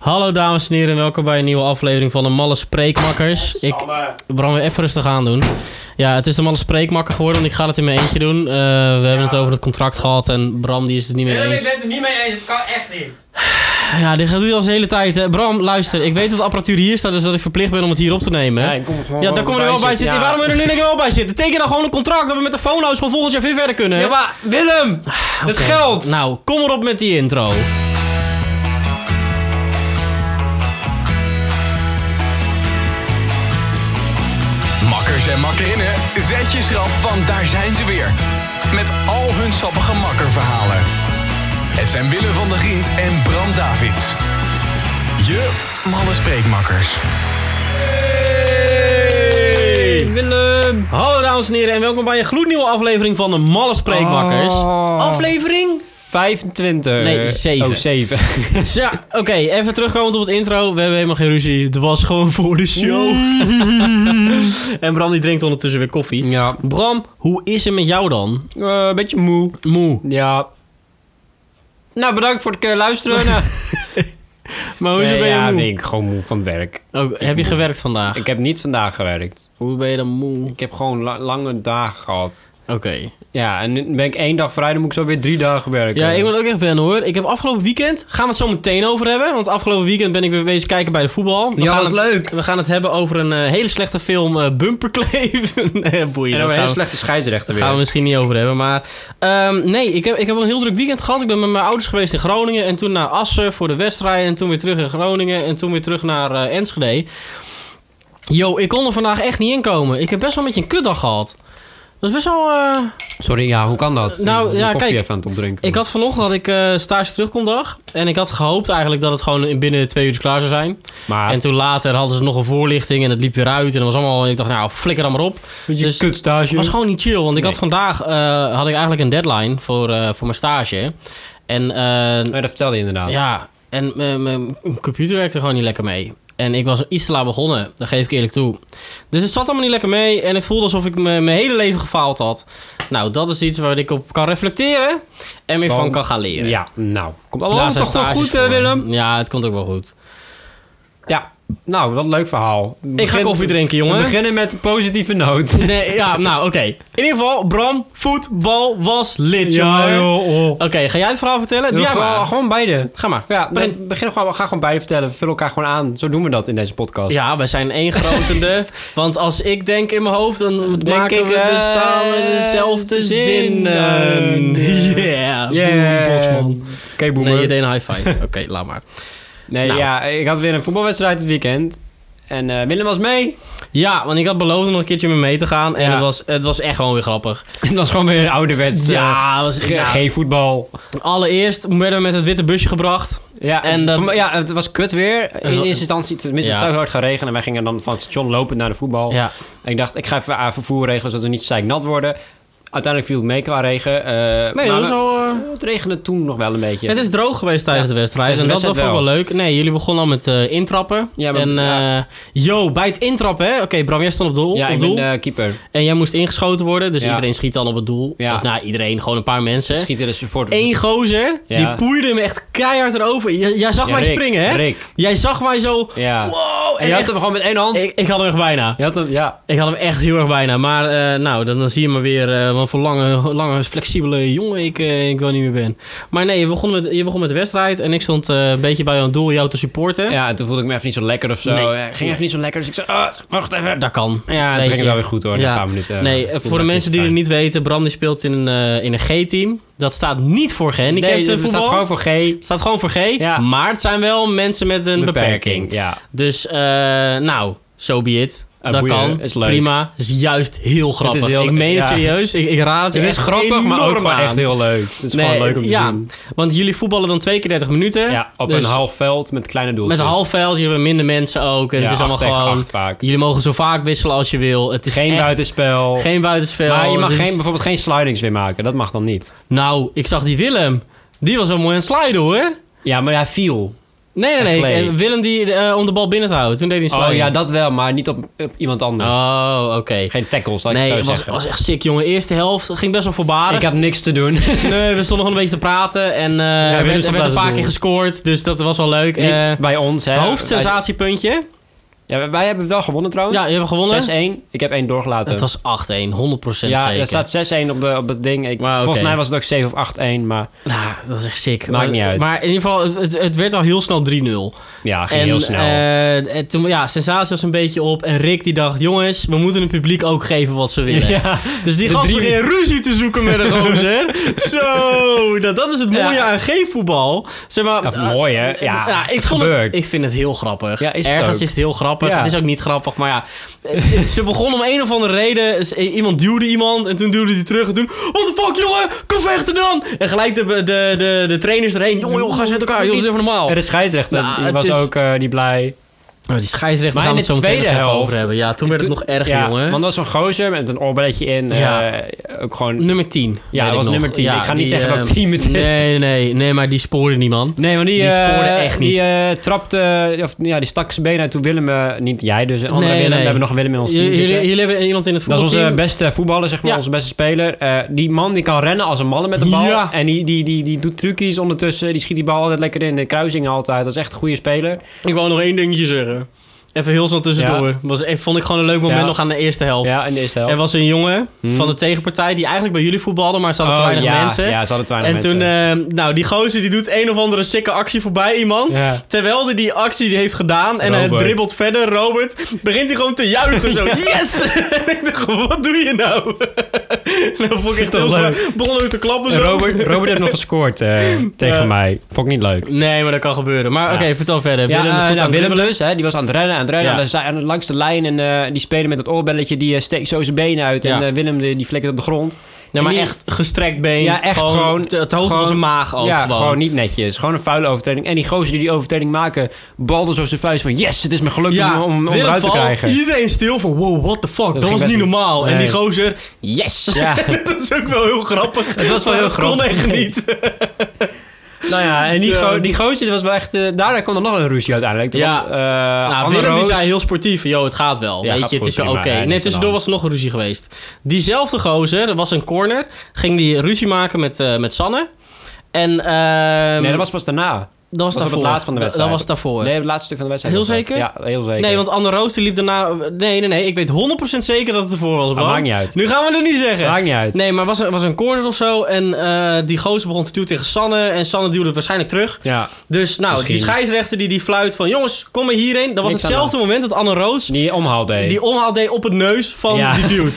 Hallo dames en heren, welkom bij een nieuwe aflevering van de Malle Spreekmakkers. Ik, Bram, weer even rustig aan doen. Ja, het is de Malle Spreekmakker geworden, want ik ga het in mijn eentje doen. Eh, we hebben het over het contract gehad en Bram die is het niet mee Willem, ik ben eens. het er niet mee eens. Het kan echt niet. Ja, dit gaat nu al de hele tijd. Hè. Bram, luister, ik weet dat de apparatuur hier staat, dus dat ik verplicht ben om het hier op te nemen. Hè? kom gewoon Ja, daar komen we er wel bij zitten. Waarom wil je er nu niet wel bij zitten? Teken dan gewoon een contract dat we met de phono's gewoon volgend jaar weer verder kunnen. Ja, maar Willem! Het Ah, Oké, geld! Nou, kom erop met die intro. Makkers en makkerinnen, zet je schrap, want daar zijn ze weer. Met al hun sappige makkerverhalen. Het zijn Willem van der Giend en Bram Davids. Je malle spreekmakkers. Willem! Hallo dames en heren en welkom bij een gloednieuwe aflevering van de Malle Spreekmakkers. Ah. Oh. Aflevering? 25. Nee, zeven. Oh, 7. Ja, oké, even terugkomend op het intro. We hebben helemaal geen ruzie, het was gewoon voor de show. en Bram die drinkt ondertussen weer koffie. ja. Bram, hoe is het met jou dan? Eh, beetje moe. Moe. Ja. Nou, bedankt voor het keer luisteren. Nou, Maar hoezo nee, ben je ja, moe? ben ik gewoon moe van het werk. Oh, heb je gewerkt vandaag? Ik heb niet vandaag gewerkt. Hoe ben je dan moe? Ik heb gewoon la- lange dagen gehad. Oké. Ja, en nu ben ik één dag vrij, dan moet ik zo weer drie dagen werken. Ja, ik moet ook echt wennen hoor. Ik heb afgelopen weekend, gaan we het zo meteen over hebben. Want afgelopen weekend ben ik weer bezig kijken bij de voetbal. We Ja, gaan was het, leuk. We gaan het hebben over een eh, hele slechte film, eh Bumperkleef. nee, boeien. En dan daar een hele gaan, we, slechte scheidsrechter daar weer. gaan we misschien niet over hebben. Maar ehm, nee, ik heb, ik heb een heel druk weekend gehad. Ik ben met mijn ouders geweest in Groningen. En toen naar Assen voor de wedstrijd. En toen weer terug in Groningen. En toen weer terug naar eh, Enschede. Yo, ik kon er vandaag echt niet in komen. Ik heb best wel een beetje een kutdag gehad. Dat is best wel... eh, Sorry, ja, hoe kan dat? Nou, Ik ben ja, koffie kijk, even aan het opdrinken. Ik had vanochtend had ik eh, stage terugkomdag. En ik had gehoopt eigenlijk dat het gewoon in binnen twee uur klaar zou zijn. maar En toen later hadden ze nog een voorlichting en het liep weer uit. En dat was allemaal, ik dacht, nou, flikker dan maar op. Met je dus- kutstage. Het was gewoon niet chill, want ik Nee. had vandaag eh, had ik eigenlijk een deadline voor, eh, voor mijn stage. En eh, Nee, dat vertelde je inderdaad. ja, en mijn- mijn computer werkte gewoon niet lekker mee. En ik was iets te laat begonnen, dat geef ik eerlijk toe. Dus het zat allemaal niet lekker mee en ik voelde alsof ik mijn mijn hele leven gefaald had. Nou, dat is iets waar ik op kan reflecteren en meer van Want- kan gaan leren. Ja, nou. Komt Daar allemaal zijn toch wel stages goed, hè, voor. Willem? Ja, het komt ook wel goed. Ja, nou, wat een leuk verhaal. We Ik ga beginnen- koffie drinken, We jongen. beginnen met een positieve noot. Nee, ja, nou, oké. In ieder geval, Bram, voetbal was lid, jongen. Oké, ga jij het verhaal vertellen? Doe jij gewoon, maar. gewoon beide. Ga maar. Ja, Begin. begin. begin gewoon, ga gewoon beide vertellen. Vul elkaar gewoon aan. Zo doen we dat in deze podcast. Ja, wij zijn één grotende. want als ik denk in mijn hoofd, dan maken ik, we dus eh, samen dezelfde zinnen. zinnen. Yeah. Yeah. Boom, boxman. Oké, boemer. Nee, je Nee, deed een high five. Oké, laat maar. Nou. ja, ik had weer een voetbalwedstrijd dit weekend. En eh, Willem was mee. Ja, want ik had beloofd om nog een keertje mee mee te gaan. En Ja. het, was, het was echt gewoon weer grappig. Het was gewoon weer een ouderwets. eh, Ja, was, ge- ja. Geen voetbal. Allereerst werden we met het witte busje gebracht. Ja, En en dat- ja, het was kut weer. In was- eerste instantie, tenminste, het Ja. zou heel hard gaan regenen. En wij gingen dan van het station lopend naar de voetbal. Ja. En ik dacht, ik ga even aan vervoer regelen, zodat we niet zeiknat worden. Uiteindelijk viel het mee qua regen. eh, maar Nee, dat was we- al... eh, het regende toen nog wel een beetje. Het is droog geweest tijdens Ja, de wedstrijd. En tijdens de dat was wedstrijd ook wel leuk. Nee, jullie begonnen al met eh, intrappen. Ja, maar- en ja. eh, yo, bij het intrappen, hè? Oké, Bram, jij stond op doel. ja, op ik doel ben eh, keeper. En jij moest ingeschoten worden. Dus Ja. iedereen schiet dan op het doel. Ja. Of nou, iedereen, gewoon een paar mensen. Schieten de support. Eén gozer, Ja. die poeide hem echt keihard erover. J- jij zag Ja, mij Rick, springen, hè? Rick. Jij zag mij zo... Ja. Wow! En En je had echt- hem gewoon met één hand. ik, ik had hem echt bijna. Je had hem, ja. Ik had hem echt heel erg bijna. Maar eh, nou, dan, dan zie je me weer eh, wat voor lange, lange flexibele jongen ik, eh, ik wel niet meer ben. Maar nee, je begon met, je begon met de wedstrijd. En ik stond eh, een beetje bij jou aan het doel jou te supporten. Ja, en toen voelde ik me even niet zo lekker of zo. Nee. Eh, ging even niet zo lekker, dus ik zei, ah, wacht even. Dat kan. Ja, Weet toen ging je. het wel weer goed hoor, na Ja. een paar minuten. nee, eh, Voelde voor de me mensen die fijn. het niet weten, Bram die speelt in, eh, in een G-team. Dat staat niet voor gehandicapten Nee, dus het voetbal. staat gewoon voor G. staat gewoon voor G. Ja. Maar het zijn wel mensen met een beperking. Ja. Dus, eh, nou, so be it. Ah, dat boeien, kan. is leuk. Prima. Is juist heel grappig. heel- ik meen het ja. serieus. Ik, ik raad het Het je is echt grappig, maar ook enorm gewoon aan. echt heel leuk. Het is Nee, gewoon leuk om te ja, zien. Want jullie voetballen dan twee keer 30 minuten. Ja, op Dus een half veld met kleine doeltjes. Met een half veld, jullie hebben minder mensen ook. En Ja, het is acht allemaal tegen gewoon. acht vaak. Jullie mogen zo vaak wisselen als je wil. Het is Geen echt buitenspel. Geen oh, dus buitenspel. maar je mag Dit geen, is- bijvoorbeeld geen slidings meer maken. Dat mag dan niet. Nou, ik zag die Willem. Die was wel mooi aan het sliden hoor. Ja, maar hij viel. Oh, Nee, nee, nee. Echt En leeg. Willem die eh, om de bal binnen te houden. Toen deed hij een Oh sliding. ja, dat wel, maar niet op, op iemand anders. Oh, oké. Geen tackles, laat Nee, ik het het zo was, zeggen. was echt sick, jongen. Eerste helft ging best wel voorbarig. Ik had niks te doen. Nee, we stonden nog een beetje te praten. En eh er Willem werd, er zat werd een naast paar het keer doel. gescoord. Dus dat was wel leuk. Eh, niet bij ons, hè. hoofdsensatiepuntje. Ja, wij hebben wel gewonnen trouwens. Ja, je hebt gewonnen. 6-1. Ik heb één doorgelaten. Het was 8-1, 100% ja, zeker. er staat 6-1 op, de- op het ding. Ik, Maar oké. Volgens mij was het ook 7 of 8-1, maar Nou, dat is echt sick. Maakt Maar- niet uit. Maar in ieder geval, het, het werd al heel snel 3-0. ja, ging en, heel snel. eh, en toen, ja, sensatie was een beetje op. En Rick die dacht, jongens, we moeten het publiek ook geven wat ze willen. ja. Dus die De gast drie- begint ruzie te zoeken met een gozer. Zo, dat, dat is het mooie Ja. aan geefvoetbal. Zeg maar, eh, Ja, mooi, hè? Ja, ik, het vond het, gebeurt. ik vind het heel grappig. Ja, is het Ergens ook. is het heel grappig. Ja. Het is ook niet grappig, maar ja. eh, ze begon om een of andere reden. Ze- eh, Iemand duwde iemand en toen duwde hij terug. En toen, what the fuck, jongen? Kom vechten dan! En gelijk de, de, de, de trainers erheen. Jongen, jongen, ga eens uit elkaar. Jongens, even normaal. En de scheidsrechter Nou, die het was is- ook eh, niet blij. Oh, die scheidsrechter Maar gaan in we het de zo meteen nog tweede even helft- over hebben. Ja, toen werd het nog erger, ja, jongen. Want dat was zo'n gozer met een oorbelletje in. eh, Ja. ook gewoon... Nummer 10. Ja, weet dat was ik nog. nummer 10. Ik ga niet zeggen welk eh, team het is. Nee, nee, nee, maar die spoorde niet, man. Nee, want die, Die eh, spoorde echt Die eh, trapte, of, ja, die stak zijn been uit toen Willem, eh, niet jij dus, een andere Nee, Willem. nee. We hebben nog een Willem in ons J- team jullie, zitten. jullie hebben iemand in het Dat is voetbalteam. onze beste voetballer, zeg maar, Ja. onze beste speler. Eh, die man die kan rennen als een malle met de bal. Ja. En die, die, die, die doet trucjes ondertussen. Die schiet die bal altijd lekker in. De kruisingen altijd. Dat is echt een goede speler. Ik wou nog één dingetje zeggen. Even heel snel tussendoor. Ja. Was, ik, vond ik gewoon een leuk moment Ja. nog aan de eerste helft. Ja, in de eerste helft. Er was een jongen van de tegenpartij die eigenlijk bij jullie voetbalde, maar ze hadden te weinig Hmm. Oh, ja, mensen. Ja, ze hadden te weinig En mensen. toen, eh, nou, die gozer die doet een of andere sikke actie voorbij iemand. Ja. Terwijl hij die actie heeft gedaan en hij Robert. dribbelt verder, Robert, begint hij gewoon te juichen. Zo, yes! en ik dacht, wat doe je nou? nou, vond ik echt toch heel leuk? leuk. Begon ook te klappen zo. En Robert, Robert heeft nog gescoord eh, tegen Ja. mij. Vond ik niet leuk. Nee, maar dat kan gebeuren. Maar Ja. oké, vertel verder. Ja, Willem, Willem, goed aan het Willem dus, hè, die was aan het rennen, aan het rennen. Ja. En dan sta- aan de- langs de lijn en eh, die spelen met dat oorbelletje, die eh, steekt zo zijn benen uit. En Ja. eh, Willem die, die flikkert op de grond. Ja, maar En die- echt gestrekt been. Ja, echt gewoon- het- Het hoofd gewoon- van zijn maag ook ja, gewoon. gewoon. niet netjes. Gewoon een vuile overtreding. En die gozer die die overtreding maken, balde zo zijn vuist van... Yes, het is me gelukt om, om, om Willem eruit te valt, krijgen. Iedereen stil van wow, what the fuck. Dat, ging was niet best- normaal. En Nee. die gozer, yes. Ja. dat is ook wel heel grappig. Het was wel Maar heel dat kon grappig. echt niet. Nou ja, en die, Ja. go- die gozer die was wel echt... eh, daarna kwam er nog een ruzie uiteindelijk. Toen Ja. kwam, eh, nou, Anne Willem die Roos. zei heel sportief, yo, het gaat wel. Ja, Weet gaat je, het goed, is wel oké. prima. Ja, niks aan nee, de tussendoor hand. was er nog een ruzie geweest. Diezelfde gozer, er was een corner, ging die ruzie maken met, eh, met Sanne. En ehm, Nee, dat was pas daarna. dat was was op het daarvoor. laatst van de Dat- wedstrijd. Dat was daarvoor. Nee, het laatste stuk van de wedstrijd. Heel was dat. zeker? Ja, heel zeker. Nee, want Anne Roos die liep daarna... Nee, nee, nee. Ik weet 100% zeker dat het ervoor was, Bram. Ah, maakt niet uit. Nu gaan we het niet zeggen. Maakt niet uit. Nee, maar was er was een corner of zo. En eh, die gozer begon te duwen tegen Sanne. En Sanne duwde het waarschijnlijk terug. Ja. Dus nou, Misschien. die scheidsrechter die, die fluit van... Jongens, kom maar hierheen. Dat was Niks aan hetzelfde moment dat Anne Roos... Die omhaal deed. Die omhaal deed op het neus van Ja. die dude.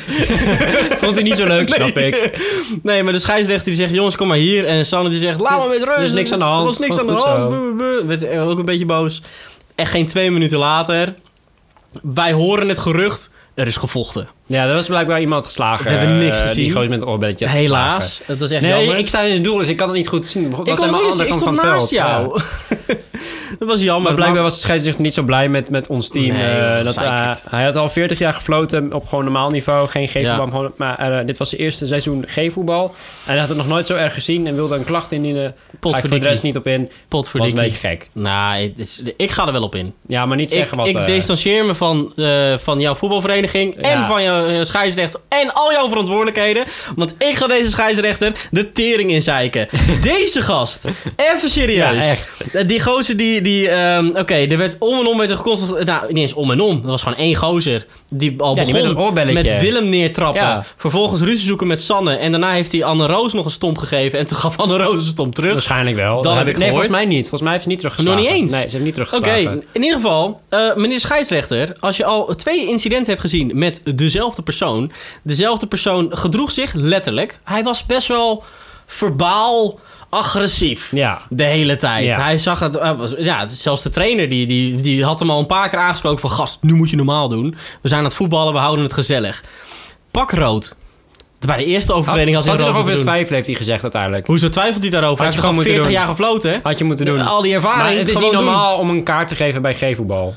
vond hij niet zo leuk, snap ik. Nee, maar de scheidsrechter die zegt... Jongens, kom maar hier. En Sanne die zegt... Laat Dus- me met rust. dus niks aan de hand. Er was niks aan de Gewoon hand. goed Buh, buh, buh. Werd eh, ook een beetje boos. En geen twee minuten later... Wij horen het gerucht... Er is gevochten. Ja, er was blijkbaar iemand geslagen. We hebben niks eh, gezien. Die gozer met een oorbelletje. had geslagen. Helaas. Dat is echt Nee, jammer. ik sta in het doel, dus ik kan het niet goed zien. Ik kon het niet zien, ik stond naast jou. dat was jammer. Maar blijkbaar was de scheidsrechter niet zo blij met, met ons team. Nee, eh, joh, dat, zeikert. eh, hij had al 40 jaar gefloten op gewoon normaal niveau. Geen Ja. G-voetbal. gewoon- Maar eh, dit was zijn eerste seizoen G-voetbal. En hij had het nog nooit zo erg gezien. En wilde een klacht indienen. Ga ik voor de Potverdikkie. rest niet op in. pot voor Was een beetje Dickie. gek. Nou, het is- ik ga er wel op in. Ja, maar niet Ik, zeggen wat... ik eh, distancieer me van, eh, van jouw voetbalvereniging en Ja. van jouw eh, scheidsrechter en al jouw verantwoordelijkheden. Want ik ga deze scheidsrechter de tering inzeiken. Deze gast. Even serieus. Ja, echt. Eh, Die gozer die... die ehm, Oké, er werd om en om werd er geconstateerd... Nou, niet eens om en om. Er was gewoon één gozer die al Ja, die met een begon oorbelletje. met Willem neertrappen. Ja. Vervolgens ruzie zoeken met Sanne. En daarna heeft hij Anne Roos nog een stomp gegeven. En toen gaf Anne Roos een stomp terug. Waarschijnlijk wel. heb ik Nee, gehoord. volgens mij niet. Volgens mij heeft ze niet teruggeslagen. Nog niet eens? Nee, ze heeft niet Oké, teruggeslagen. in ieder geval, eh, meneer scheidsrechter, als je al twee incidenten hebt gezien met dezelfde persoon, dezelfde persoon gedroeg zich letterlijk. Hij was best wel verbaal agressief Ja. de hele tijd. Ja. Hij zag het, eh, was- ja, zelfs de trainer die, die, die had hem al een paar keer aangesproken van gast, nu moet je normaal doen. We zijn aan het voetballen, we houden het gezellig. Pak rood. Bij de eerste overtreding had Had hij hij er nog over de twijfel. twijfel, heeft hij gezegd uiteindelijk. Hoezo twijfelt hij daarover? Hij Had is je gewoon gewoon 40 moeten jaar gefloten. Had je moeten doen. Al die ervaring. Maar het is gewoon niet doen. normaal om een kaart te geven bij G-voetbal.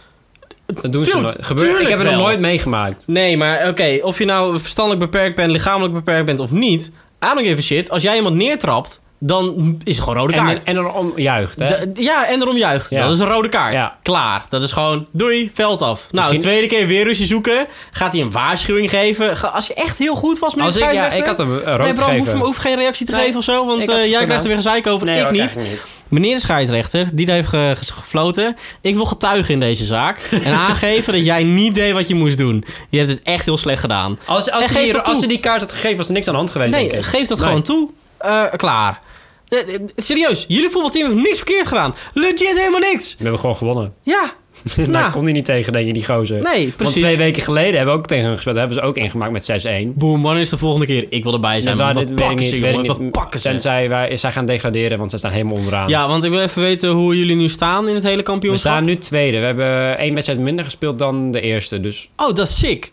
Dat doen ze Dude, nooit. Gebeurt, ik tuurlijk heb het nog wel. nooit meegemaakt. Nee, maar oké, of je nou verstandelijk beperkt bent, lichamelijk beperkt bent of niet, I don't give a shit. Als jij iemand neertrapt, dan is het gewoon rode En, kaart. en dan omjuicht, hè? Da- ja, en erom juicht. Ja. Dat is een rode kaart. Ja. Klaar. Dat is gewoon, doei, veld af. Nou, Misschien- de tweede keer weer ruzie zoeken. Gaat hij een waarschuwing geven? Ga- als je echt heel goed was met Als de ik, ja, scheidsrechter... ik had hem een rood Nee, Bram hoeft, gegeven. hem, hoeft geen reactie te Nee, geven of zo. Want ik had eh, het jij krijgt gedaan. er weer gezeik over. Nee, ik hoor, niet. eigenlijk niet. Meneer de scheidsrechter, die daar heeft ge- ge- gefloten. Ik wil getuigen in deze zaak. En aangeven dat jij niet deed wat je moest doen. Je hebt het echt heel slecht gedaan. Als, als, En ze geef die, dat als toe. ze die kaart had gegeven, was er niks aan de hand geweest. denk Nee, Oh, ik. geef dat Nee. gewoon toe. Eh, klaar. Eh, eh, serieus, jullie voetbalteam heeft niks verkeerd gedaan. Legit helemaal niks. We hebben gewoon gewonnen. Ja. Daar Nou. kon hij niet tegen, denk je, die gozer. Nee, Want precies. twee weken geleden hebben we ook tegen hem gespeeld. Daar hebben ze ook ingemaakt met 6-1. Boom, wanneer is de volgende keer? Ik wil erbij zijn. Dat want waren- dat dit weet ik pakken ze, niet, weet ik jongen. Dat niet. pakken ze. Tenzij wij, zij gaan degraderen, want ze staan helemaal onderaan. Ja, want ik wil even weten hoe jullie nu staan in het hele we kampioenschap. staan nu tweede. We hebben één wedstrijd minder gespeeld dan de eerste. Dus Oh, dat is sick.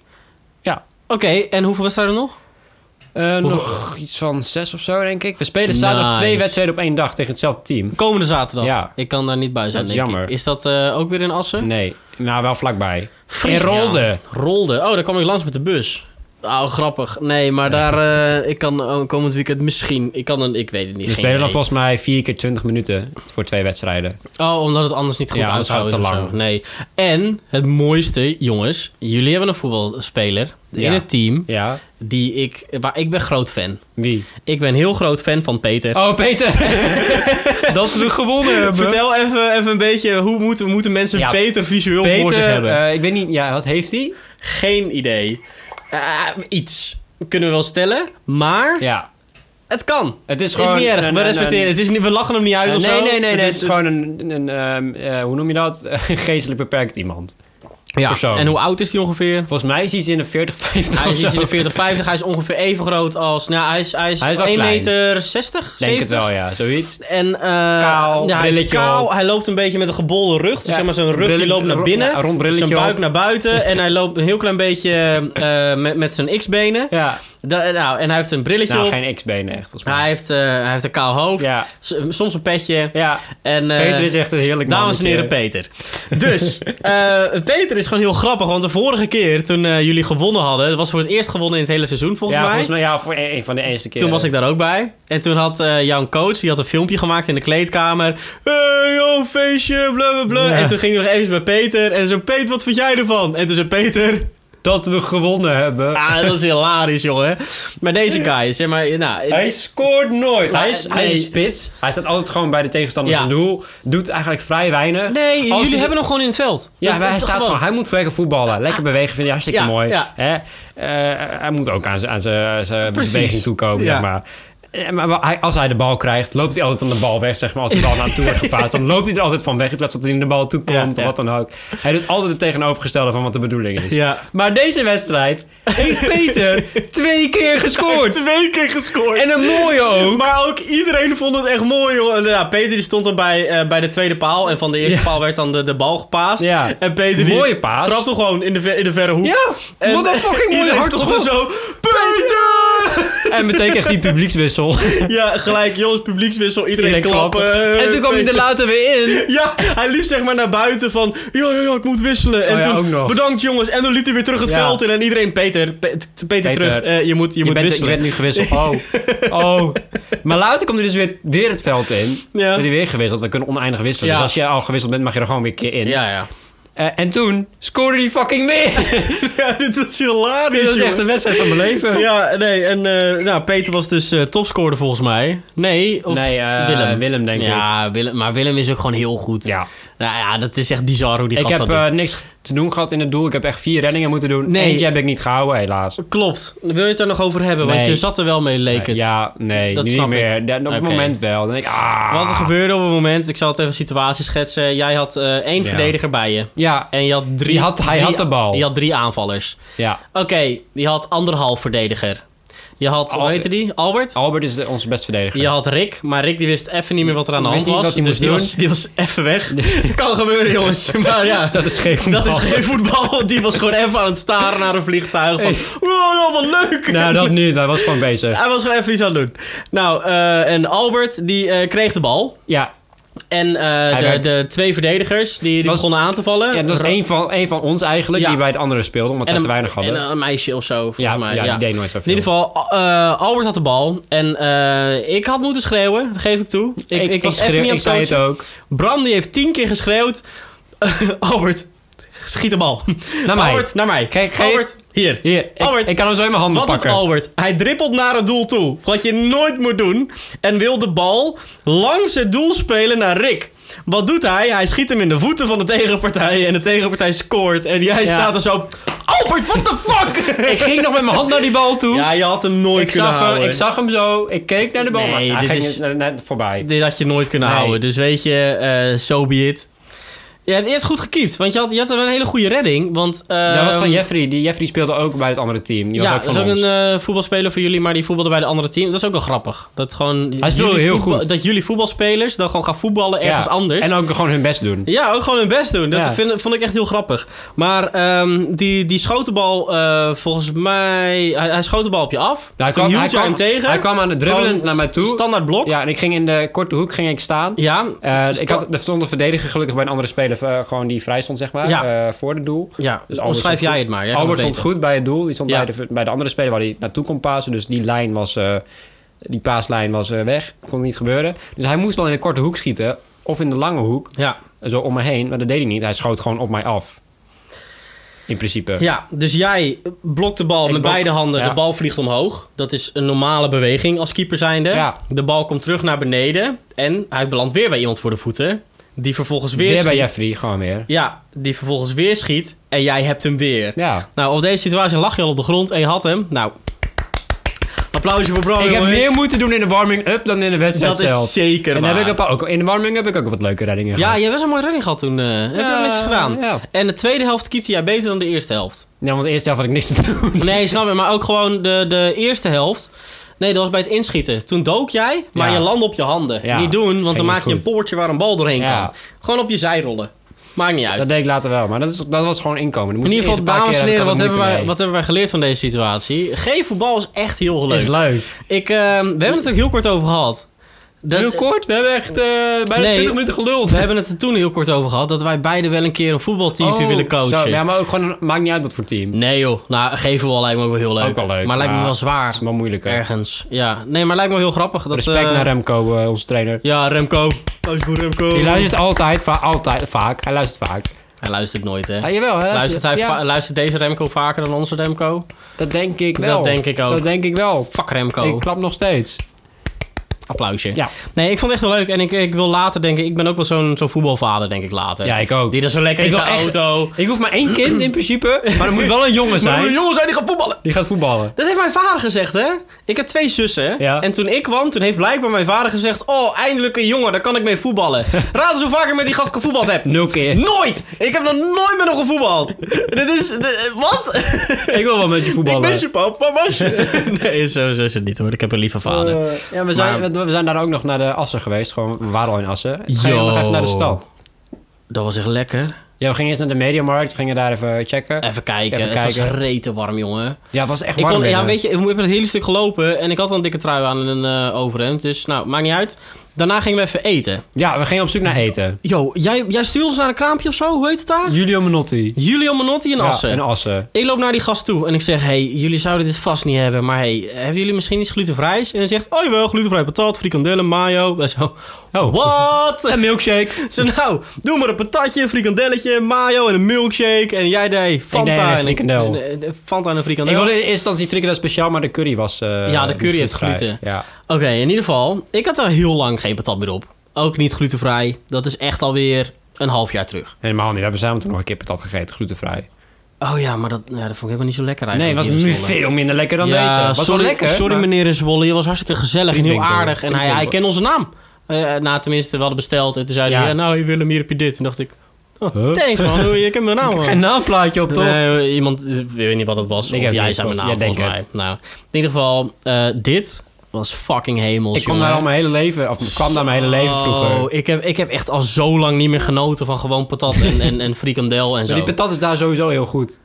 ja, Oké, en hoeveel was er nog? Eh, nog iets van zes of zo, denk ik. We spelen zaterdag Nice. twee wedstrijden op één dag tegen hetzelfde team. Komende zaterdag. Ja. Ik kan daar niet bij zijn. Dat is denk ik. jammer. Is dat eh, ook weer in Assen? Nee, nou wel vlakbij. Fries- In Rolde. Ja, Rolde. Oh, daar kwam ik langs met de bus. Oh, grappig. Nee, maar daar... eh, ik kan oh, komend weekend misschien... Ik kan een... Ik weet het niet. We geen spelen dan idee. volgens mij vier keer twintig minuten voor twee wedstrijden. Oh, omdat het anders niet goed Ja, uit anders zou gaat het te of lang. zo. Nee. En het mooiste, jongens. Jullie hebben een voetbalspeler Ja. in het team... Ja. die ik... Waar ik ben groot fan. Wie? Ik ben heel groot fan van Peter. Oh, Peter! dat ze gewonnen hebben. Vertel even, even een beetje... Hoe moeten, moeten mensen Ja, Peter visueel voor zich Peter, hebben? eh, ik weet niet, ja, wat heeft hij? Geen idee. Eh, iets. Kunnen we wel stellen. Maar Ja. het kan. Het is Het gewoon... is niet erg, een- we een- respecteren het. Is niet, we lachen hem niet uit een- of nee, zo. nee, nee, nee. Het Het is- is gewoon een, een ehm, eh, hoe noem je dat? geestelijk beperkt iemand. ja. persoon. En hoe oud is hij ongeveer? Volgens mij is hij iets in de 40, 50 Hij of is zo. iets in de 40, 50. Hij is ongeveer even groot als... Nou, hij is, hij is, Hij is wel 1 klein. meter 60, Denk 70. het wel, ja. Zoiets. En, eh, Kaal, ja, hij is brilletje op. kaal. Hij loopt een beetje met een gebolde rug. Dus Ja, zeg maar, zijn rug die brilletje- loopt naar ro- ja, binnen. rond brilletje zijn buik op. naar buiten. en hij loopt een heel klein beetje eh, met, met zijn x-benen. Ja. Da- nou, en hij heeft een brilletje Nou, op. geen X-benen echt, volgens mij. Hij heeft, eh, hij heeft een kaal hoofd. Ja. S- Soms een petje. Ja, En, eh, Peter is echt een heerlijk Dames en heren, mannetje. Peter. Dus, eh, Peter is gewoon heel grappig. Want de vorige keer toen eh, jullie gewonnen hadden... Dat was voor het eerst gewonnen in het hele seizoen, volgens ja, mij. volgens mij ja, voor een, een van de eerste keer. Toen was ik daar ook bij. En toen had eh, jouw coach, die had een filmpje gemaakt in de kleedkamer. Hey, joh, feestje, bla bla bla. Ja. En toen ging hij nog even bij Peter. En zo, Peter, wat vind jij ervan? En toen zei Peter... Dat we gewonnen hebben. Ah, dat is hilarisch, jongen. Maar deze guy, zeg maar... Nou, Hij scoort nooit. Maar, eh, Hij is, hij is nee. een spits. Hij staat altijd gewoon bij de tegenstander Ja. zijn doel. Doet eigenlijk vrij weinig. nee, jullie hij- hebben hem gewoon in het veld. Ja, Dat maar is hij toch staat gewoon. Hij moet lekker voetballen. Lekker bewegen vind ik hartstikke Ja, mooi. ja. Hè? Eh, hij moet ook aan zijn- aan zijn zijn Precies. beweging toekomen, Ja. zeg maar. Eh, Maar wa- hij- als hij de bal krijgt, loopt hij altijd aan de bal weg. Zeg maar. Als de bal naar hem toe wordt gepaast, dan loopt hij er altijd van weg. In plaats dat hij in de bal toe komt Ja, of ja. wat dan ook. Hij doet altijd het tegenovergestelde van wat de bedoeling is. Ja. Maar deze wedstrijd heeft Peter twee keer gescoord. Twee keer gescoord. En een mooie ook. Maar ook iedereen vond het echt mooi, joh. En, ja, Peter die stond dan bij, eh, bij de tweede paal. En van de eerste Ja. paal werd dan de, de bal gepaast. Ja. En Peter die Mooie paas. trapte gewoon in de, ver- in de verre hoek. Ja, En wat een fucking mooie iedereen stond er hartschot. zo, Peter! En meteen echt die publiekswissel. ja, gelijk, jongens, publiekswissel. Iedereen, Iedereen klappen. klappen. En toen kwam hij er Peter. later weer in. Ja, hij liep zeg maar naar buiten van... Ja, ja, ja, ik moet wisselen. En Oh ja, ook toen, nog. bedankt jongens. En toen liep hij weer terug het Ja. veld in. En iedereen, Peter, Pe- Peter, terug. Eh, je moet, je moet bent, wisselen. Je bent nu gewisseld. Oh. oh. Maar later komt hij dus weer, weer het veld in. Ja. Wordt hij weer gewisseld. We kunnen oneindig wisselen. Ja. Dus als je al gewisseld bent, mag je er gewoon weer een keer in. Ja, ja. Eh, en toen scoorde hij fucking weer. Ja, dit is hilarisch, Dit was jongen. echt een wedstrijd van mijn leven. Ja, nee, en eh, nou, Peter was dus eh, topscorer volgens mij. Nee, of Nee, eh, Willem. Willem, denk ik. ja, Willem, maar Willem is ook gewoon heel goed. Ja. Nou ja, dat is echt bizar hoe die Ik gast dat heb doet. eh, niks te doen gehad in het doel. Ik heb echt vier reddingen moeten doen. Nee. Eentje heb ik niet gehouden, helaas. Klopt. Wil je het er nog over hebben? Want eh, Nee. Eh, je zat er wel mee, leek het. Ja, nee, Dat niet snap meer. ik. Da- op het Oké. moment wel. Dan denk ik, ah. Wat er gebeurde op het moment, ik zal het even een situatie schetsen. Jij had eh, één Ja. verdediger bij je. Ja, En je had drie... Die had- hij drie- had de bal. Je had drie aanvallers. ja. Oké, je had anderhalf verdediger. Je had, Al- hoe heette die? Albert? Albert is de- onze beste verdediger. Je had Rick, maar Rick die wist even niet meer wat er aan de hand Wist was. niet wat hij dus moest die doen. was, die was even weg. kan gebeuren, jongens. Maar ja, Dat is geen dat is voetbal. geen voetbal. Die was gewoon even aan het staren naar een vliegtuig. Van, wow, wat leuk. Nou, dat niet. Hij was gewoon bezig. Hij was gewoon even iets aan het doen. Nou, eh, en Albert, die eh, kreeg de bal. Ja, En eh, de, werd- de twee verdedigers die, die Was- begonnen aan te vallen. Ja, dat Ro- was één van, één van ons eigenlijk Ja. die bij het andere speelde, omdat en ze een- te weinig hadden. En een meisje of zo, volgens ja, mij. ja, ja. die deed nooit In zoveel. ieder geval, eh, Albert had de bal. En eh, ik had moeten schreeuwen, dat geef ik toe. eh, Ik, ik, was schreeuw- even niet aan ik het zei het coachen. ook. Bram die heeft tien keer geschreeuwd. Albert, schiet de bal. Naar mij. Albert, naar mij. Kijk, geef- Albert, hier. Hier, ik, Albert, ik kan hem zo in mijn handen Wat doet pakken. Albert? Hij dribbelt naar het doel toe. Wat je nooit moet doen. En wil de bal langs het doel spelen naar Rick. Wat doet hij? Hij schiet hem in de voeten van de tegenpartij. En de tegenpartij scoort. En jij Ja. staat er zo... Albert, what the fuck? Ik ging nog met mijn hand naar die bal toe. ja, je had hem nooit ik, kunnen zag hem, houden. ik zag hem zo, ik keek naar de bal, Nee, maar hij dit ging is- naar- naar- voorbij. Dit had je nooit kunnen Nee. houden. Dus weet je, eh so be it. Ja, je hebt goed gekiept. Want je had, je had wel een hele goede redding. Want, eh, dat was van Jeffrey, die Jeffrey speelde ook bij het andere team. Die was ja, ook van dat is ons. ook een eh, voetbalspeler voor jullie, maar die voetbalde bij de andere team. Dat is ook wel grappig. Dat gewoon Hij speelde jullie heel voetbal- goed. Dat jullie voetbalspelers dan gewoon gaan voetballen eh, ergens Ja, anders. En ook gewoon hun best doen. ja, ook gewoon hun best doen. Dat Ja. vind- vond ik echt heel grappig. Maar ehm, die, die schoot de bal eh, volgens mij... Hij, hij schoot de bal op je af. Nou, hij Toen kwam- hield hij je kwam- hem tegen. hij kwam aan het Gewoon dribbelend naar mij toe. Standaard blok. Ja. Ja, en ik ging in de korte hoek ging ik staan. Ja, Eh, ik Sta- had, er stond een verdediger gelukkig bij een andere speler eh, gewoon die vrij stond, zeg maar, Ja. eh, voor het doel. dus Albert omschrijf stond jij goed. het maar. Jij kan Albert het stond beter. goed bij het doel. Die stond Ja. bij, de, bij de andere speler waar hij naartoe kon pasen. Dus die lijn was... eh, die paaslijn was eh, weg. Kon niet gebeuren. Dus hij moest wel in de korte hoek schieten. Of in de lange hoek. Ja. Zo om me heen. Maar dat deed hij niet. Hij schoot gewoon op mij af. In principe. Ja, dus jij blokt de bal Ik met blok- beide handen. ja. De bal vliegt omhoog. Dat is een normale beweging als keeper zijnde. Ja. De bal komt terug naar beneden. En hij belandt weer bij iemand voor de voeten. Die vervolgens weer, Weer bij schiet. Jeffrey. Gewoon weer. Ja, die vervolgens weer schiet. En jij hebt hem weer. Ja. Nou, op deze situatie lag je al op de grond en je had hem. Nou, applausje voor Bram. Ik heb jongens. meer moeten doen in de warming-up dan in de wedstrijd Dat zelf. is zeker en waar. heb ik een paar, ook, in de warming heb ik ook wat leuke reddingen Ja, gehad. jij was een mooie redding gehad toen. eh heb je wel netjes gedaan. ja. En de tweede helft keepte jij beter dan de eerste helft. Ja, want de eerste helft had ik niks te doen. Nee, snap je. Maar ook gewoon de, de eerste helft. Nee, dat was bij het inschieten. Toen dook jij, maar Ja. je landde op je handen. Ja, Niet doen, want ging dan niet maak je een goed. poortje waar een bal doorheen Ja. kan. Gewoon op je zij rollen. Maakt niet uit. Dat deed ik later wel, maar dat, is, dat was gewoon inkomen. Dan in moest ieder ik geval, eerst een paar dames en keer- heren, had wat ik hebben, moeite wij, mee. wat hebben wij geleerd van deze situatie? Geen voetbal is echt heel leuk. is leuk. Ik, ehm, we hebben het ook heel kort over gehad. Dat- Heel kort, we hebben echt eh, bijna Nee. 20 minuten geluld. We hebben het er toen heel kort over gehad dat wij beide wel een keer een voetbalteampje Oh, willen coachen. zo, ja, maar ook gewoon, maakt niet uit wat voor team. Nee joh, nou geven wel lijkt me ook wel heel leuk. Ook wel leuk, Maar lijkt me maar- wel zwaar Dat is wel moeilijk. hè. ergens. Ja, nee, maar lijkt me wel heel grappig. Dat, Respect eh, naar Remco, eh, onze trainer. Ja, Remco. Thuis voor Remco. Hij luistert altijd, va- altijd, vaak. Hij luistert vaak. Hij luistert nooit, hè? Ja, jawel, hij luistert, hij ja, va- luistert deze Remco vaker dan onze Remco? Dat denk ik wel. denk ik ook. Dat denk ik wel. Fuck Remco. Ik klap nog steeds. Applausje. Ja. Nee, ik vond het echt wel leuk. En ik, ik wil later denken... Ik ben ook wel zo'n zo'n voetbalvader, denk ik, later. Ja, ik ook. Die er zo lekker Ik in wil zijn echt- auto... Ik hoef maar één kind in principe, maar er moet wel een jongen zijn jongens zijn die gaan voetballen. die gaat voetballen. Dat heeft mijn vader gezegd, hè? Ik heb twee zussen. Ja. En toen ik kwam, toen heeft blijkbaar mijn vader gezegd... Oh, eindelijk een jongen, daar kan ik mee voetballen. Raad eens hoe vaak ik met die gast gevoetbald heb. Nul keer. Nooit! Ik heb nog nooit met hem gevoetbald. Dit is... dit- wat? Ik wil wel met je voetballen. Ik ben je pap, waar was je? nee, zo, zo is het niet hoor. Ik heb een lieve vader. Eh, ja, we zijn, Maar- we, we zijn daar ook nog naar de Assen geweest. Gewoon, we waren al in Assen. We Yo. gingen nog even naar de stad. dat was echt lekker. Ja, we gingen eerst naar de Mediamarkt. We gingen daar even checken. Even kijken. Even het was kijken. rete warm, jongen. Ja, het was echt Ik warm kon, ja, binnen. weet je, ik heb het hele stuk gelopen en ik had al een dikke trui aan en een eh, overhemd. Dus nou, maakt niet uit. Daarna gingen we even eten. Ja, we gingen op zoek naar eten. Yo, jij, jij stuurde ons naar een kraampje of zo? Hoe heet het daar? Julio Menotti. Julio Manotti in Ja, Assen. in Assen. ik loop naar die gast toe en ik zeg... hey, jullie zouden dit vast niet hebben, maar hey, hebben jullie misschien iets glutenvrijs? En hij zegt, oh jawel, glutenvrij patat, frikandellen, mayo. En zo, Oh, wat? Een milkshake. Ze nou, doe maar een patatje, een frikandelletje, mayo en een milkshake. En jij deed Fanta deed een en frikandel. en- en- en- Fanta en een Ik frikandel. wilde in eerste instantie frikandel speciaal, maar de curry was... eh, Ja, de niet curry heeft glutenvrij. gluten. Ja. Oké, in ieder geval, ik had er heel lang geen patat meer op. Ook niet glutenvrij. Dat is echt alweer een half jaar terug. Helemaal niet. We hebben samen toen nog een keer patat gegeten, glutenvrij. Oh ja, maar dat, ja, dat vond ik helemaal niet zo lekker Nee, het eigenlijk. was hier in nu Zwolle. veel minder lekker dan Ja, deze. Was wel sorry, lekker, sorry maar- meneer in Zwolle, je was hartstikke gezellig en heel Frieswinkel. aardig. En hij, hij Frieswinkel. kent onze naam. Eh, nou, tenminste, we hadden besteld en toen zei hij, Ja. ja, nou Willem, hier heb je dit. En dacht ik, oh, Huh? thanks man, hoe- je kent mijn naam man. Geen naamplaatje op, toch? Nee, iemand, ik weet niet wat het was. Ik of heb jij niks zei mijn naam, vast. Ja, volgens denk mij. Nou, het. in ieder geval, eh, dit was fucking hemels, ik kwam jongen. daar al mijn hele leven... Of kwam daar mijn hele leven vroeger. Oh, ik heb, ik heb echt al zo lang niet meer genoten van gewoon patat en, en, en frikandel en zo. Die patat is daar sowieso heel goed.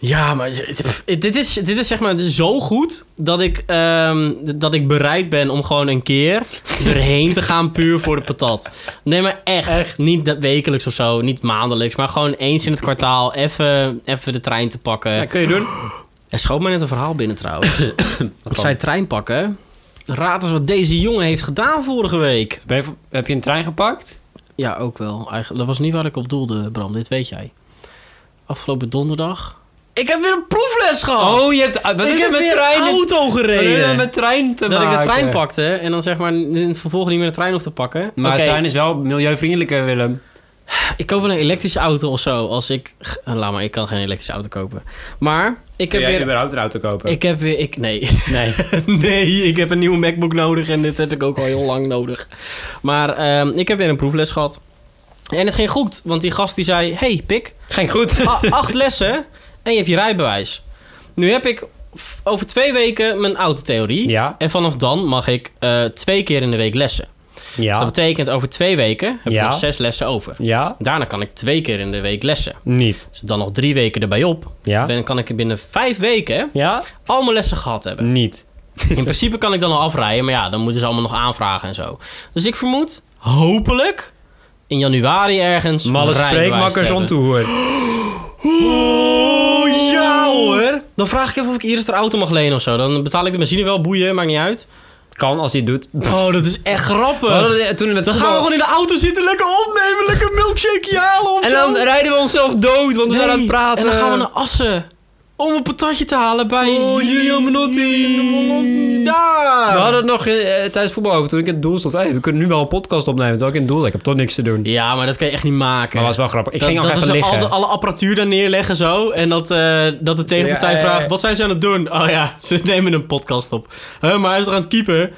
Ja, maar z- het- pff, dit is, dit is zeg maar zo goed dat ik, ehm, dat ik bereid ben om gewoon een keer erheen te gaan puur voor de patat. Nee, maar echt. Niet dat wekelijks of zo, niet maandelijks, maar gewoon eens in het kwartaal even, even de trein te pakken. Ja, kun je doen? Er schoot mij net een verhaal binnen trouwens. ik zei trein pakken. Raad eens wat deze jongen heeft gedaan vorige week. Ben je- heb je een trein gepakt? Ja, ook wel. Eigenlijk, dat was niet waar ik op doelde, Bram. Dit weet jij. Afgelopen donderdag. Ik heb weer een proefles gehad. je hebt... Oh, Wat Oh. ik heb weer een auto gereden. met trein te dat ik maken? de trein pakte en dan zeg maar in het vervolg niet meer de trein hoef te pakken. Maar Oké, de trein is wel milieuvriendelijker, Willem. Ik koop wel een elektrische auto of zo. Als ik. Eh, Laat maar, ik kan geen elektrische auto kopen. Maar ik heb weer. überhaupt een auto kopen? Ik heb weer. Ik, nee. Nee. nee, ik heb een nieuwe MacBook nodig en dit heb ik ook al heel lang nodig. Maar ehm, ik heb weer een proefles gehad. En het ging goed, want die gast die zei: Hey, pik, Ging goed. a- acht lessen en je hebt je rijbewijs. Nu heb ik f- over twee weken mijn autotheorie. Ja. En vanaf dan mag ik eh, twee keer in de week lessen. Dus Ja. dat betekent over twee weken heb Ja. ik nog zes lessen over. Ja. Daarna kan ik twee keer in de week lessen. Niet. Dus dan nog drie weken erbij op. Ja. Dan kan ik binnen vijf weken Ja? al mijn lessen gehad hebben. Niet. In principe kan ik dan al afrijden, maar ja, dan moeten ze allemaal nog aanvragen en zo. Dus ik vermoed, hopelijk, in januari ergens. Malle een rijbewijs spreekmakkers te om hebben. toehoor. Oh ja hoor! Dan vraag ik even of ik Iris de auto mag lenen of zo. Dan betaal ik de benzine wel, boeien, maakt niet uit. Kan als hij het doet. Oh, dat is echt grappig. toen met dan gaan we gewoon in de auto zitten, lekker opnemen, lekker een milkshakeje halen of En zo. dan rijden we onszelf dood, want we zijn Nee, aan het praten. En dan gaan we naar Assen. Om een patatje te halen bij... Oh, Julian Menotti. Daar! We hadden het nog eh, tijdens voetbal over toen ik in het doel stond. Hey, we kunnen nu wel een podcast opnemen, terwijl ik in het doel zat. Ik heb toch niks te doen. Ja, maar dat kan je echt niet maken. Maar was wel grappig. Ik Dat- ging dat nog we even zo liggen. Al de, alle apparatuur daar neerleggen zo. En dat, eh, dat de tegenpartij Ja, ja, ja. vraagt: wat zijn ze aan het doen? Oh ja, ze nemen een podcast op. Huh, maar hij is toch aan het keepen?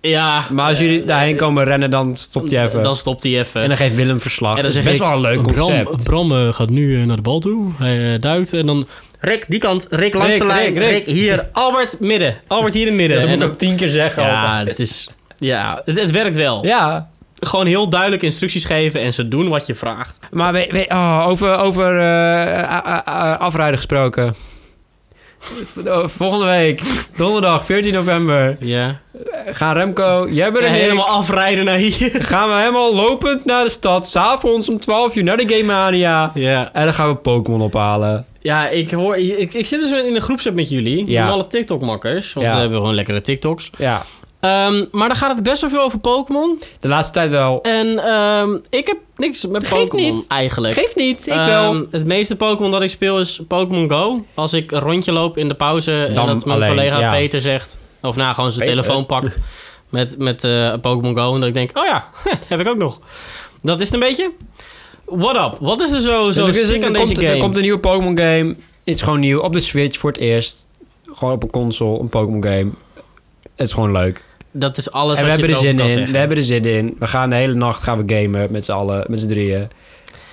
Ja. Maar als jullie daarheen komen rennen, dan stopt hij even. Eh, Dan stopt hij even. en dan geeft Willem verslag. En dat dan is zeg best ik, wel een leuk Bram- concept. Bram, eh, gaat nu eh, naar de bal toe. Hij eh, duikt en dan. Rick, die kant. Rick langs Rick, de lijn. Rick, Rick. hier. Albert midden. Albert hier in het midden. Dat En moet ik dan- ook tien keer zeggen. ja, altijd. het is. Ja, het, het werkt wel. ja. Gewoon heel duidelijk instructies geven en ze doen wat je vraagt. Maar we, we- oh, over, over eh, a- a- a- afrijden gesproken. V- Volgende week, donderdag 14 november, Ja. gaan Remco, jij bent En er helemaal afrijden naar hier. Gaan we helemaal lopend naar de stad, s'avonds om 12 uur naar de Game Mania. Ja. En dan gaan we Pokémon ophalen. Ja, ik, hoor, ik, ik zit dus in een groepset met jullie. Ja. Met alle TikTok-makkers. Want Ja. we hebben gewoon lekkere TikToks. Ja, Ehm, maar dan gaat het best wel veel over Pokémon. de laatste tijd wel. En ehm, ik heb niks met Geeft Pokémon niet. eigenlijk. Geeft niet, ik Ehm, wel. Het meeste Pokémon dat ik speel is Pokémon Go. Als ik een rondje loop in de pauze Dan en dat mijn alleen, collega ja. Peter zegt... Of nou, gewoon zijn Peter. telefoon pakt met, met eh, Pokémon Go. En dat ik denk, oh ja, heb ik ook nog. Dat is het een beetje. What up? Wat is er zo, zo er, is- sick er aan deze komt, game? er komt een nieuwe Pokémon game. Is gewoon nieuw, op de Switch voor het eerst. Gewoon op een console, een Pokémon game. Het is gewoon leuk. Dat is alles en we wat hebben je erover er zin kan in. zeggen. We hebben er zin in. We gaan de hele nacht gaan we gamen met z'n allen, met z'n drieën.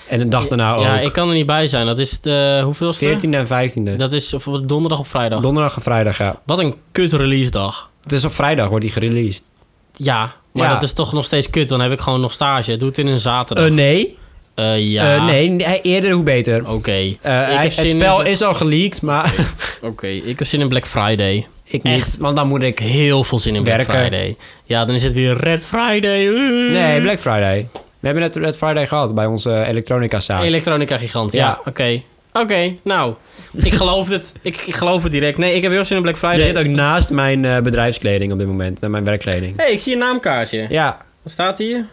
En de dag daarna Ja, Nou ook. ik kan er niet bij zijn. Dat is de hoeveelste? 14e en 15e. Dat is op donderdag op vrijdag. Donderdag en vrijdag, ja. Wat een kut release dag. Het is op vrijdag, wordt die gereleased. Ja, maar Ja. dat is toch nog steeds kut. Dan heb ik gewoon nog stage. Doe het in een zaterdag. nee. Eh, ja. Eh, nee, nee, eerder hoe beter. Oké. Eh, Ik hij- heb het zin in spel Bla- is al geleakt, maar Oké, ik heb zin in Black Friday. ik niet. Echt? Want dan moet ik... Heel veel zin in Black Werken. Friday. Ja, dan is het weer Red Friday. Uh. Nee, Black Friday. We hebben net Red Friday gehad bij onze elektronica-zaak. Ah, Elektronica gigant, ja. Ja. Oké. Oké, nou. Ik geloof het. Ik, ik geloof het direct. Nee, ik heb heel zin in Black Friday. Je zit ook naast mijn eh, bedrijfskleding op dit moment. eh, Mijn werkkleding. hey, ik zie een naamkaartje. Ja. Wat staat hier?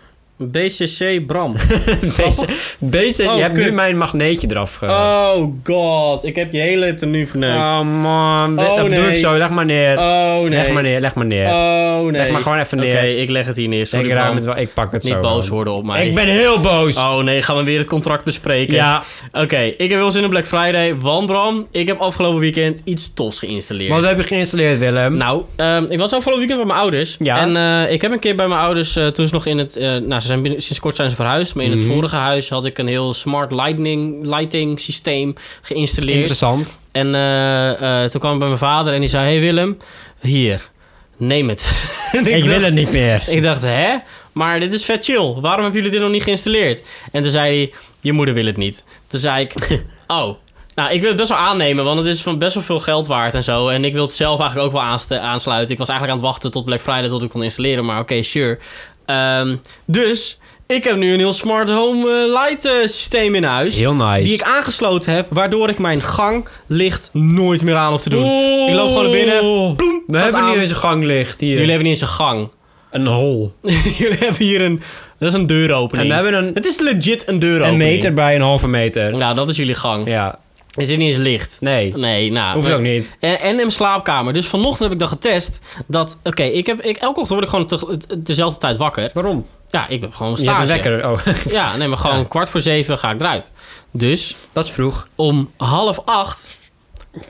BCC Bram. BC, BC Oh, je hebt nu kut. mijn magneetje eraf eh, ge... Oh god, ik heb je hele tenue verneukt. Oh, man. Dit- Oh, dat doe nee. ik zo. Leg maar neer. oh nee. Leg maar neer. Leg maar neer. Oh nee. Leg maar gewoon even Oké, neer. ik leg het hier neer. Sorry, Denk raar Bram. met wel. Ik pak het zo. Niet boos man. worden op mij. Ik ben heel boos. Oh nee, gaan we weer het contract bespreken? ja. Oké, ik heb wel zin in Black Friday, want Bram, ik heb afgelopen weekend iets tofs geïnstalleerd. Wat heb je geïnstalleerd, Willem? Nou, ehm, ik was afgelopen weekend bij mijn ouders. Ja. En eh, ik heb een keer bij mijn ouders, eh, toen ze nog in het... eh, nou, ze zijn binnen- sinds kort zijn ze verhuisd. Maar in Mhm. het vorige huis had ik een heel smart lightning, lighting systeem geïnstalleerd. Interessant. En eh, eh, toen kwam ik bij mijn vader en die zei... Hey Willem, hier, neem het. En Ik, wil dacht- het niet meer. Ik dacht, hè? Maar dit is vet chill. Waarom hebben jullie dit nog niet geïnstalleerd? En toen zei hij, je moeder wil het niet. Toen zei ik, oh... Nou, ik wil het best wel aannemen, want het is van best wel veel geld waard en zo. En ik wil het zelf eigenlijk ook wel aanste- aansluiten. Ik was eigenlijk aan het wachten tot Black Friday tot ik kon installeren, maar oké, sure. Ehm, dus ik heb nu een heel smart home eh, light eh, systeem in huis. Heel nice. Die ik aangesloten heb, waardoor ik mijn ganglicht nooit meer aan hoef te doen. Oeh. Ik loop gewoon naar binnen, ploem, We gaat hebben aan. niet eens een ganglicht hier. Jullie hebben niet eens een gang. Een hol. Jullie hebben hier een... Dat is een deuropening. En we hebben een, Het is legit een deuropening. een meter bij een halve meter. Nou, dat is jullie gang. Ja. Er zit niet eens licht. Nee. Nee, nou... Hoeft maar- ook niet. En, en in mijn slaapkamer. Dus vanochtend heb ik dan getest dat... Oké, ik heb... Ik, elke ochtend word ik gewoon teg- dezelfde tijd wakker. Waarom? Ja, ik heb gewoon een Je hebt stage. een wekker. Oh, Ja, nee, maar gewoon kwart voor zeven ga ik eruit. Dus dat is vroeg. om half acht...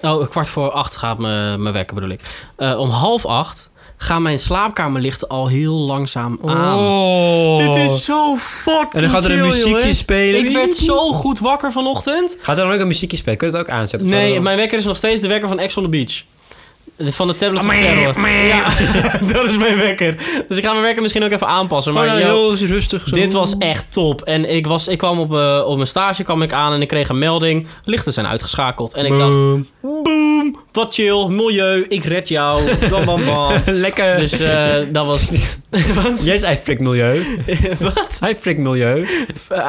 Oh, kwart voor acht gaat me- mijn wekker, bedoel ik. Eh, om half acht gaan mijn slaapkamerlichten al heel langzaam aan. Oh. Dit is zo fucking En dan gaat er een chill, muziekje jongens. spelen. Ik werd zo goed wakker vanochtend. Gaat er dan ook een muziekje spelen? Kun je het ook aanzetten? Of Nee, dan- mijn wekker is nog steeds de wekker van Ex on the Beach. De- Van de tablet van Terror. Ja, dat is mijn wekker. Dus ik ga mijn wekker misschien ook even aanpassen. Gewoon Maar een yo, heel rustig zo. dit was echt top. En ik, was, ik kwam op, eh, op mijn stage kwam ik aan en ik kreeg een melding. Lichten zijn uitgeschakeld. En ik dacht, Boom. boom, wat chill, milieu, ik red jou. Bam, bam, bam. Lekker. Dus eh, dat was... wat? Yes, I frik milieu. wat? I frik milieu.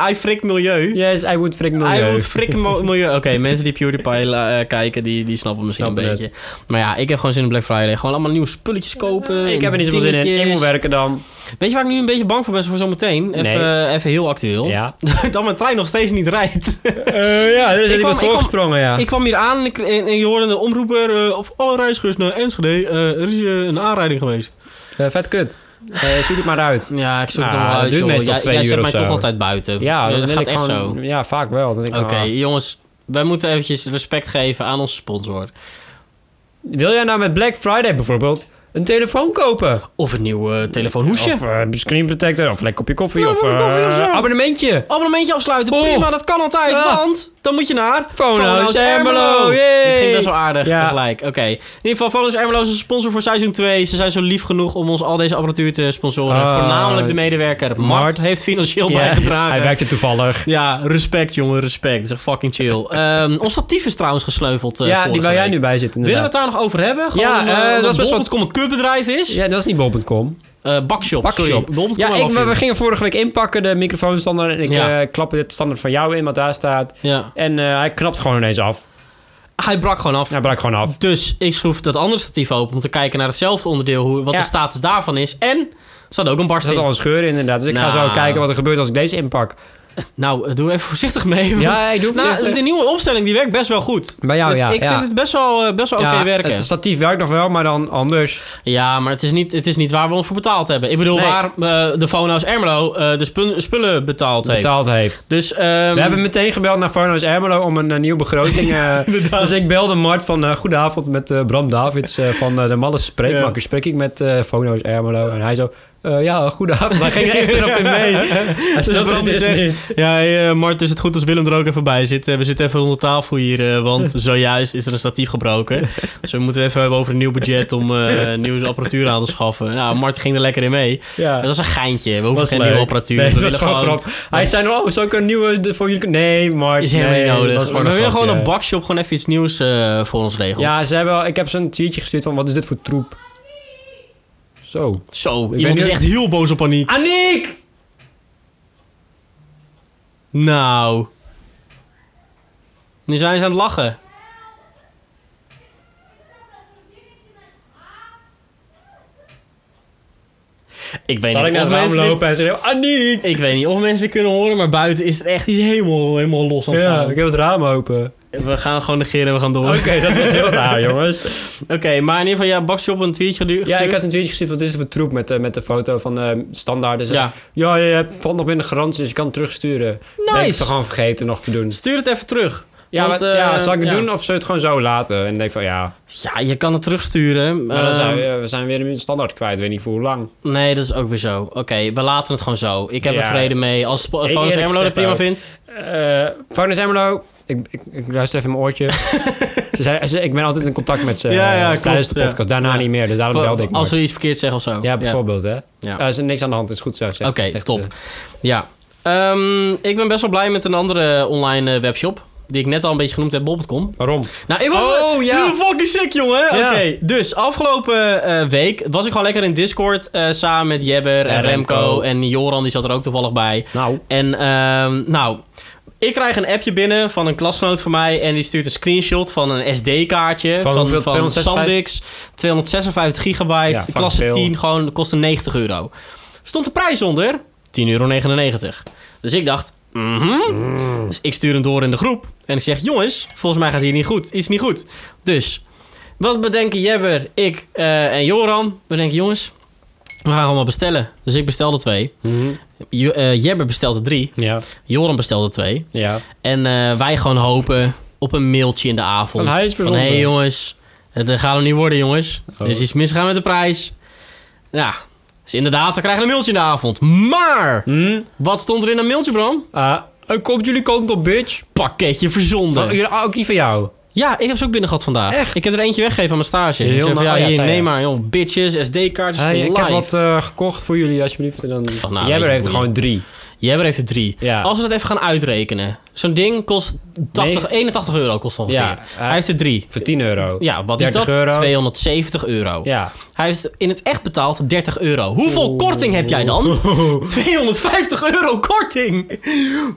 I frik milieu. Yes, I would frik milieu. Hij moet frikken mo- milieu. Oké, mensen die PewDiePie la- eh, kijken, die, die snappen misschien Snappen een het. beetje. Maar ja, ik heb gewoon zin in Black Friday. Gewoon allemaal nieuwe spulletjes kopen. Ik heb er niet zoveel zin in. Ik moet werken dan. Weet je waar ik nu een beetje bang voor ben voor zometeen? Even, eh, Nee. even heel actueel. Ja. dat mijn trein nog steeds niet rijdt. ja, er is Ik iemand kwam- ik kwam- voorgesprongen, ja. Ik kwam hier aan en, ik, en, en je hoorde een omroeper eh, op alle reizigers naar Enschede. eh, er is eh, een aanrijding geweest. Eh, vet kut. Eh, zoek het maar uit. Ja, ik zoek het Ah, allemaal dat uit, duurt joh. meestal Jij- twee jij uur zet of mij zo. toch altijd buiten. Ja, dan dat wil gaat ik echt gewoon, zo. Ja, vaak wel. Dan denk ik, Oké, ah. jongens. Wij moeten eventjes respect geven aan onze sponsor. Wil jij nou met Black Friday bijvoorbeeld een telefoon kopen? Of een nieuw eh, telefoonhoesje. Of eh, screen protector, of lekker kopje koffie, Ja, of, kopje koffie of eh, zo. abonnementje. Abonnementje afsluiten, Oh. prima, dat kan altijd. Ja. Want dan moet je naar... Phonehouse Ermelo. Yay. Dit ging best wel aardig Ja. tegelijk. Oké. In ieder geval, Phonehouse Ermelo is een sponsor voor seizoen 2. Ze zijn zo lief genoeg om ons al deze apparatuur te sponsoren. Ah. Voornamelijk de medewerker. Mart, Mart. heeft financieel Ja, bijgedragen. Hij werkte toevallig. Ja, respect jongen, respect. Dat is echt fucking chill. Ehm, ons statief is trouwens gesleuveld eh, ja, vorige die waar jij week. nu bij zit Willen we het inderdaad. daar nog over hebben? Ja, Gewoon, eh, eh, dat omdat is best wel- Bol.com een kutbedrijf is? Ja, dat is niet bol.com. Eh, bakshop, Bakshop. sorry. Bol.com Ja, en ik, we, we Bakshop. gingen vorige week inpakken, de microfoonstandaard. En ik Ja. eh, klap dit standaard van jou in, wat daar staat. Ja. En eh, hij knapt gewoon ineens af. Hij brak gewoon af. Hij brak gewoon af. Dus ik schroef dat andere statief open om te kijken naar hetzelfde onderdeel, hoe, wat Ja. de status daarvan is. En er zat ook een Er barst zat in. al een scheur in, inderdaad. Dus ik ga zo Nou. kijken wat er gebeurt als ik deze inpak. Nou, eh, doe even voorzichtig mee. want- Ja, ik doe nou, de nieuwe opstelling die werkt best wel goed. Bij jou, Het- ja. ik ja. vind het best wel, eh, best wel Ja, oké werken. Het statief werkt nog wel, maar dan anders. Ja, maar het is, niet, het is niet waar we ons voor betaald hebben. Ik bedoel, Nee. waar eh, de Phonehouse Ermelo eh, de spul- spullen betaald heeft. Betaald heeft. Dus, ehm, We hebben meteen gebeld naar Farno's Ermelo om een eh, nieuwe begroting. eh, dus ik belde Mart van eh, Goedenavond met eh, Bram Davids eh, van eh, de Malle Spreekmaker. Spreek ik met eh Farno's Ermelo? En hij zo, eh, ja, goedenavond. Maar hij ging er echt weer op in mee. Hij snapt Bram het die dus zegt- niet. Ja, hey, eh, Mart, is het goed als Willem er ook even bij zit? Eh, We zitten even onder tafel hier, eh, want zojuist is er een statief gebroken. Dus we moeten even hebben over een nieuw budget om eh, nieuwe apparatuur aan te schaffen. Nou, Mart ging er lekker in mee. Ja. Dat was een geintje. We hoeven was geen leuk. nieuwe apparatuur. we Nee, dat was gewoon grap. Hij zei, oh, zou ik een nieuwe de- voor jullie... Nee, Mart. Is helemaal nee, niet dat nodig. was Maar gewoon we een willen gewoon grapje. een bakshop gewoon even iets nieuws eh, voor ons regelen. Ja, ze hebben, wel- ik heb ze een tweetje gestuurd van, wat is dit voor troep? Zo. Zo, weet iemand niet- is echt heel boos op paniek. Aniek! Nou. Nu zijn ze aan het lachen. Ik weet, Zal ik niet naar of het raam mensen dit- lopen en zeggen, Aniek! ik weet niet of mensen dit kunnen horen, maar buiten is het echt iets helemaal, helemaal los aan het Ja, gaan. ik heb het raam open. We gaan gewoon negeren en we gaan door. Oké, Oké, dat was heel raar, jongens. maar in ieder geval, ja, Bakshop een tweetje gedu- Ja, ik gestuurd. had een tweetje gezien van dit is voor troep met, eh, met de foto van eh standaard. Dus, eh, Ja. ja, je hebt- valt nog binnen garantie, dus je kan het terugsturen. Ben ik Nice. het toch gewoon vergeten nog te doen. Stuur het even terug. Ja, Want, wat, eh, ja zal ik het ja. doen of zou je het gewoon zo laten? En ik denk van ja, Ja, je kan het terugsturen. maar Nou, dan Ehm, zijn we, we zijn weer een standaard kwijt, weet niet voor hoe lang. Nee, dat is ook weer zo. Oké, we laten het gewoon zo. Ik heb Ja. er vrede mee. Als Sp- Fons eerlijk Ermelo dat gezegd prima ook. vindt. Eh Founders Emmerlo, ik, ik, ik luister even in mijn oortje. ze zijn, ze- ik ben altijd in contact met ze Ja, ja, eh, tijdens klopt, de podcast. ja. Daarna Ja. niet meer, dus daarom Voor- belde ik Als maar. we iets verkeerd zeggen of zo. Ja, bijvoorbeeld hè. Ja. Eh, is er niks aan de hand, is goed zo. zegt- Oké, zegt, top. eh, Ja. Ehm, ik ben best wel blij met een andere online eh, webshop. die ik net al een beetje genoemd heb, bol.com. Waarom? Nou, ik was Oh, ja. You're fucking sick, jongen. Oké, Ja. dus afgelopen eh, week was ik gewoon lekker in Discord eh, samen met Jebber en, En Remco. Remco. en Joran, die zat er ook toevallig bij. Nou. En ehm, nou, ik krijg een appje binnen van een klasgenoot van mij en die stuurt een screenshot van een SD-kaartje Van hoeveel? 256? SanDisk, 256 gigabyte, Ja, klasse fucking veel. 10, gewoon kostte 90 euro. Stond de prijs onder 10,99 euro. Dus ik dacht, mhm. Mm. Dus ik stuur hem door in de groep. En ik zeg, jongens, volgens mij gaat hier niet goed. Iets niet goed. Dus, wat bedenken Jebber, ik eh, en Joran? We denken, jongens, we gaan allemaal bestellen. Dus ik bestelde twee. Mhm. Je- eh, Jebber bestelde drie. Ja. Joran bestelde twee. Ja. En eh, wij gewoon hopen op een mailtje in de avond. Van hij is Hé verzonden. Oh. hey, jongens, het eh, gaat hem niet worden jongens. Er is iets misgaan met de prijs. Ja, dus inderdaad, we krijgen een mailtje in de avond. Maar, Hm? wat stond er in dat mailtje Bram? Ah, eh, komt jullie kant op, bitch. Pakketje verzonden. Van, jullie- ah, ook die van jou. Ja, ik heb ze ook binnen gehad vandaag. Echt? Ik heb er eentje weggegeven aan mijn stage. Heel ik zei van, nou- ja, oh ja, hier, zei je. neem maar, joh, bitches, SD-kaartjes Hey, voor ik heb life. wat eh, gekocht voor jullie, alsjeblieft. En dan... nou, weet je, Jij heeft boeien. er gewoon drie. Jebber heeft er drie. Ja. Als we dat even gaan uitrekenen. Zo'n ding kost 80, Nee. 81 euro kost ongeveer. Ja, Hij heeft er drie. Voor 10 euro. Ja, wat is 30 dat? euro. 270 euro. Ja. Hij heeft in het echt betaald 30 euro. Hoeveel korting heb jij dan? 250 euro korting!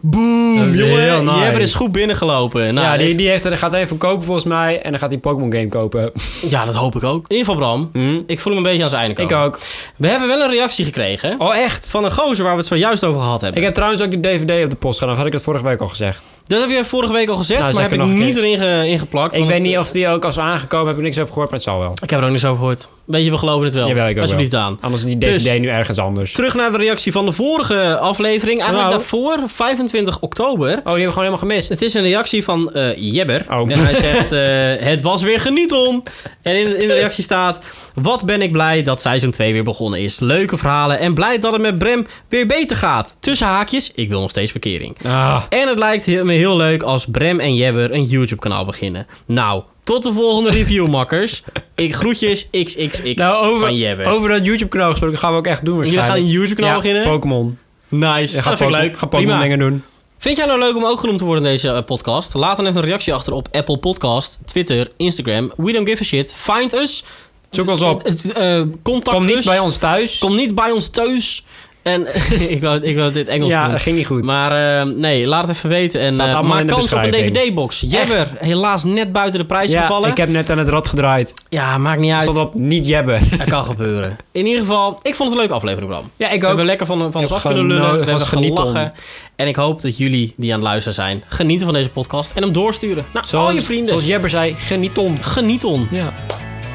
Boom, Dat is heel jongen. nice. Jebber is goed binnengelopen. Nou, ja, die, die heeft, er- gaat er even kopen volgens mij. En dan gaat hij een Pokémon game kopen. ja, dat hoop ik ook. In ieder geval, Bram, ik voel me een beetje aan zijn einde Mm. Ik komen. ook. We hebben wel een reactie gekregen. Oh, echt? Van een gozer waar we het zojuist over gehad hebben. Ik heb trouwens ook de DVD op de post gedaan. Of had ik dat vorige week al gezegd? Dat heb je vorige week al gezegd, Nou, maar zeg heb ik ik nog een niet erin ge- in geplakt. Ik want weet het- eh, niet of die ook als aangekomen. Heb ik niks over gehoord, maar het zal wel. Ik heb er ook niks over gehoord. Weet je, we geloven het wel. Jawel, ik ook Alsjeblieft wel. aan. Anders is die Dus- DVD nu ergens anders. Terug naar de reactie van de vorige aflevering. Eigenlijk Nou. daarvoor, 25 oktober. Oh, die hebben we gewoon helemaal gemist. Het is een reactie van eh, Jebber. Oh. En hij zegt, eh, het was weer genieton. En in, in de reactie staat, wat ben ik blij dat seizoen 2 weer begonnen is. Leuke verhalen en blij dat het met Brem weer beter gaat. Tussen haakjes, ik wil nog steeds verkering. Ah, En het lijkt he- me heel leuk als Brem en Jebber een YouTube-kanaal beginnen. Nou, tot de volgende review, makkers. Ik groetjes XXX nou, van over, Jebber. over dat YouTube-kanaal gesproken gaan we ook echt doen Jullie waarschijnlijk. gaan een YouTube-kanaal beginnen? Pokémon. Nice, Ja, dat Ga vind ik Pokémon- leuk. ga Prima. Pokémon dingen doen. Vind jij nou leuk om ook genoemd te worden in deze eh, podcast? Laat dan even een reactie achter op Apple Podcast, Twitter, Instagram. We don't give a shit. Find us. Zoek ons op. Eh, eh, contact Kom us. niet bij ons thuis. Kom niet bij ons thuis. En ik wou ik wou dit Engels ja, doen. dat ging niet goed. Maar eh, nee, laat het even weten. En Staat eh, allemaal maak in de kans op een beschrijving. DVD-box. Jebber, helaas net buiten de prijs ja, gevallen. ik heb net aan het rad gedraaid. Ja, maakt niet uit. Stond op niet jebben. Dat kan gebeuren. In ieder geval, ik vond het een leuke aflevering, Bram. Ja, ik We hebben ook. lekker van, van ons heb af kunnen geno- lullen. We was hebben geniet om. gelachen. En ik hoop dat jullie die aan het luisteren zijn, genieten van deze podcast. En hem doorsturen naar Nou, al je vrienden. Zoals Jebber zei, geniet om. Geniet on. Ja.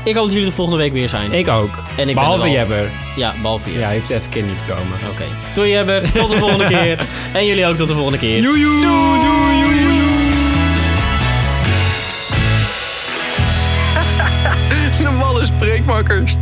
Ik hoop dat jullie de volgende week weer zijn. Ik ook. ben er Behalve wel. Jebber. Ja, behalve je. Ja, hij heeft even keer niet komen. Oké. Doei Jebber. Tot de volgende keer. En jullie ook tot de volgende keer. De malle spreekmakkers.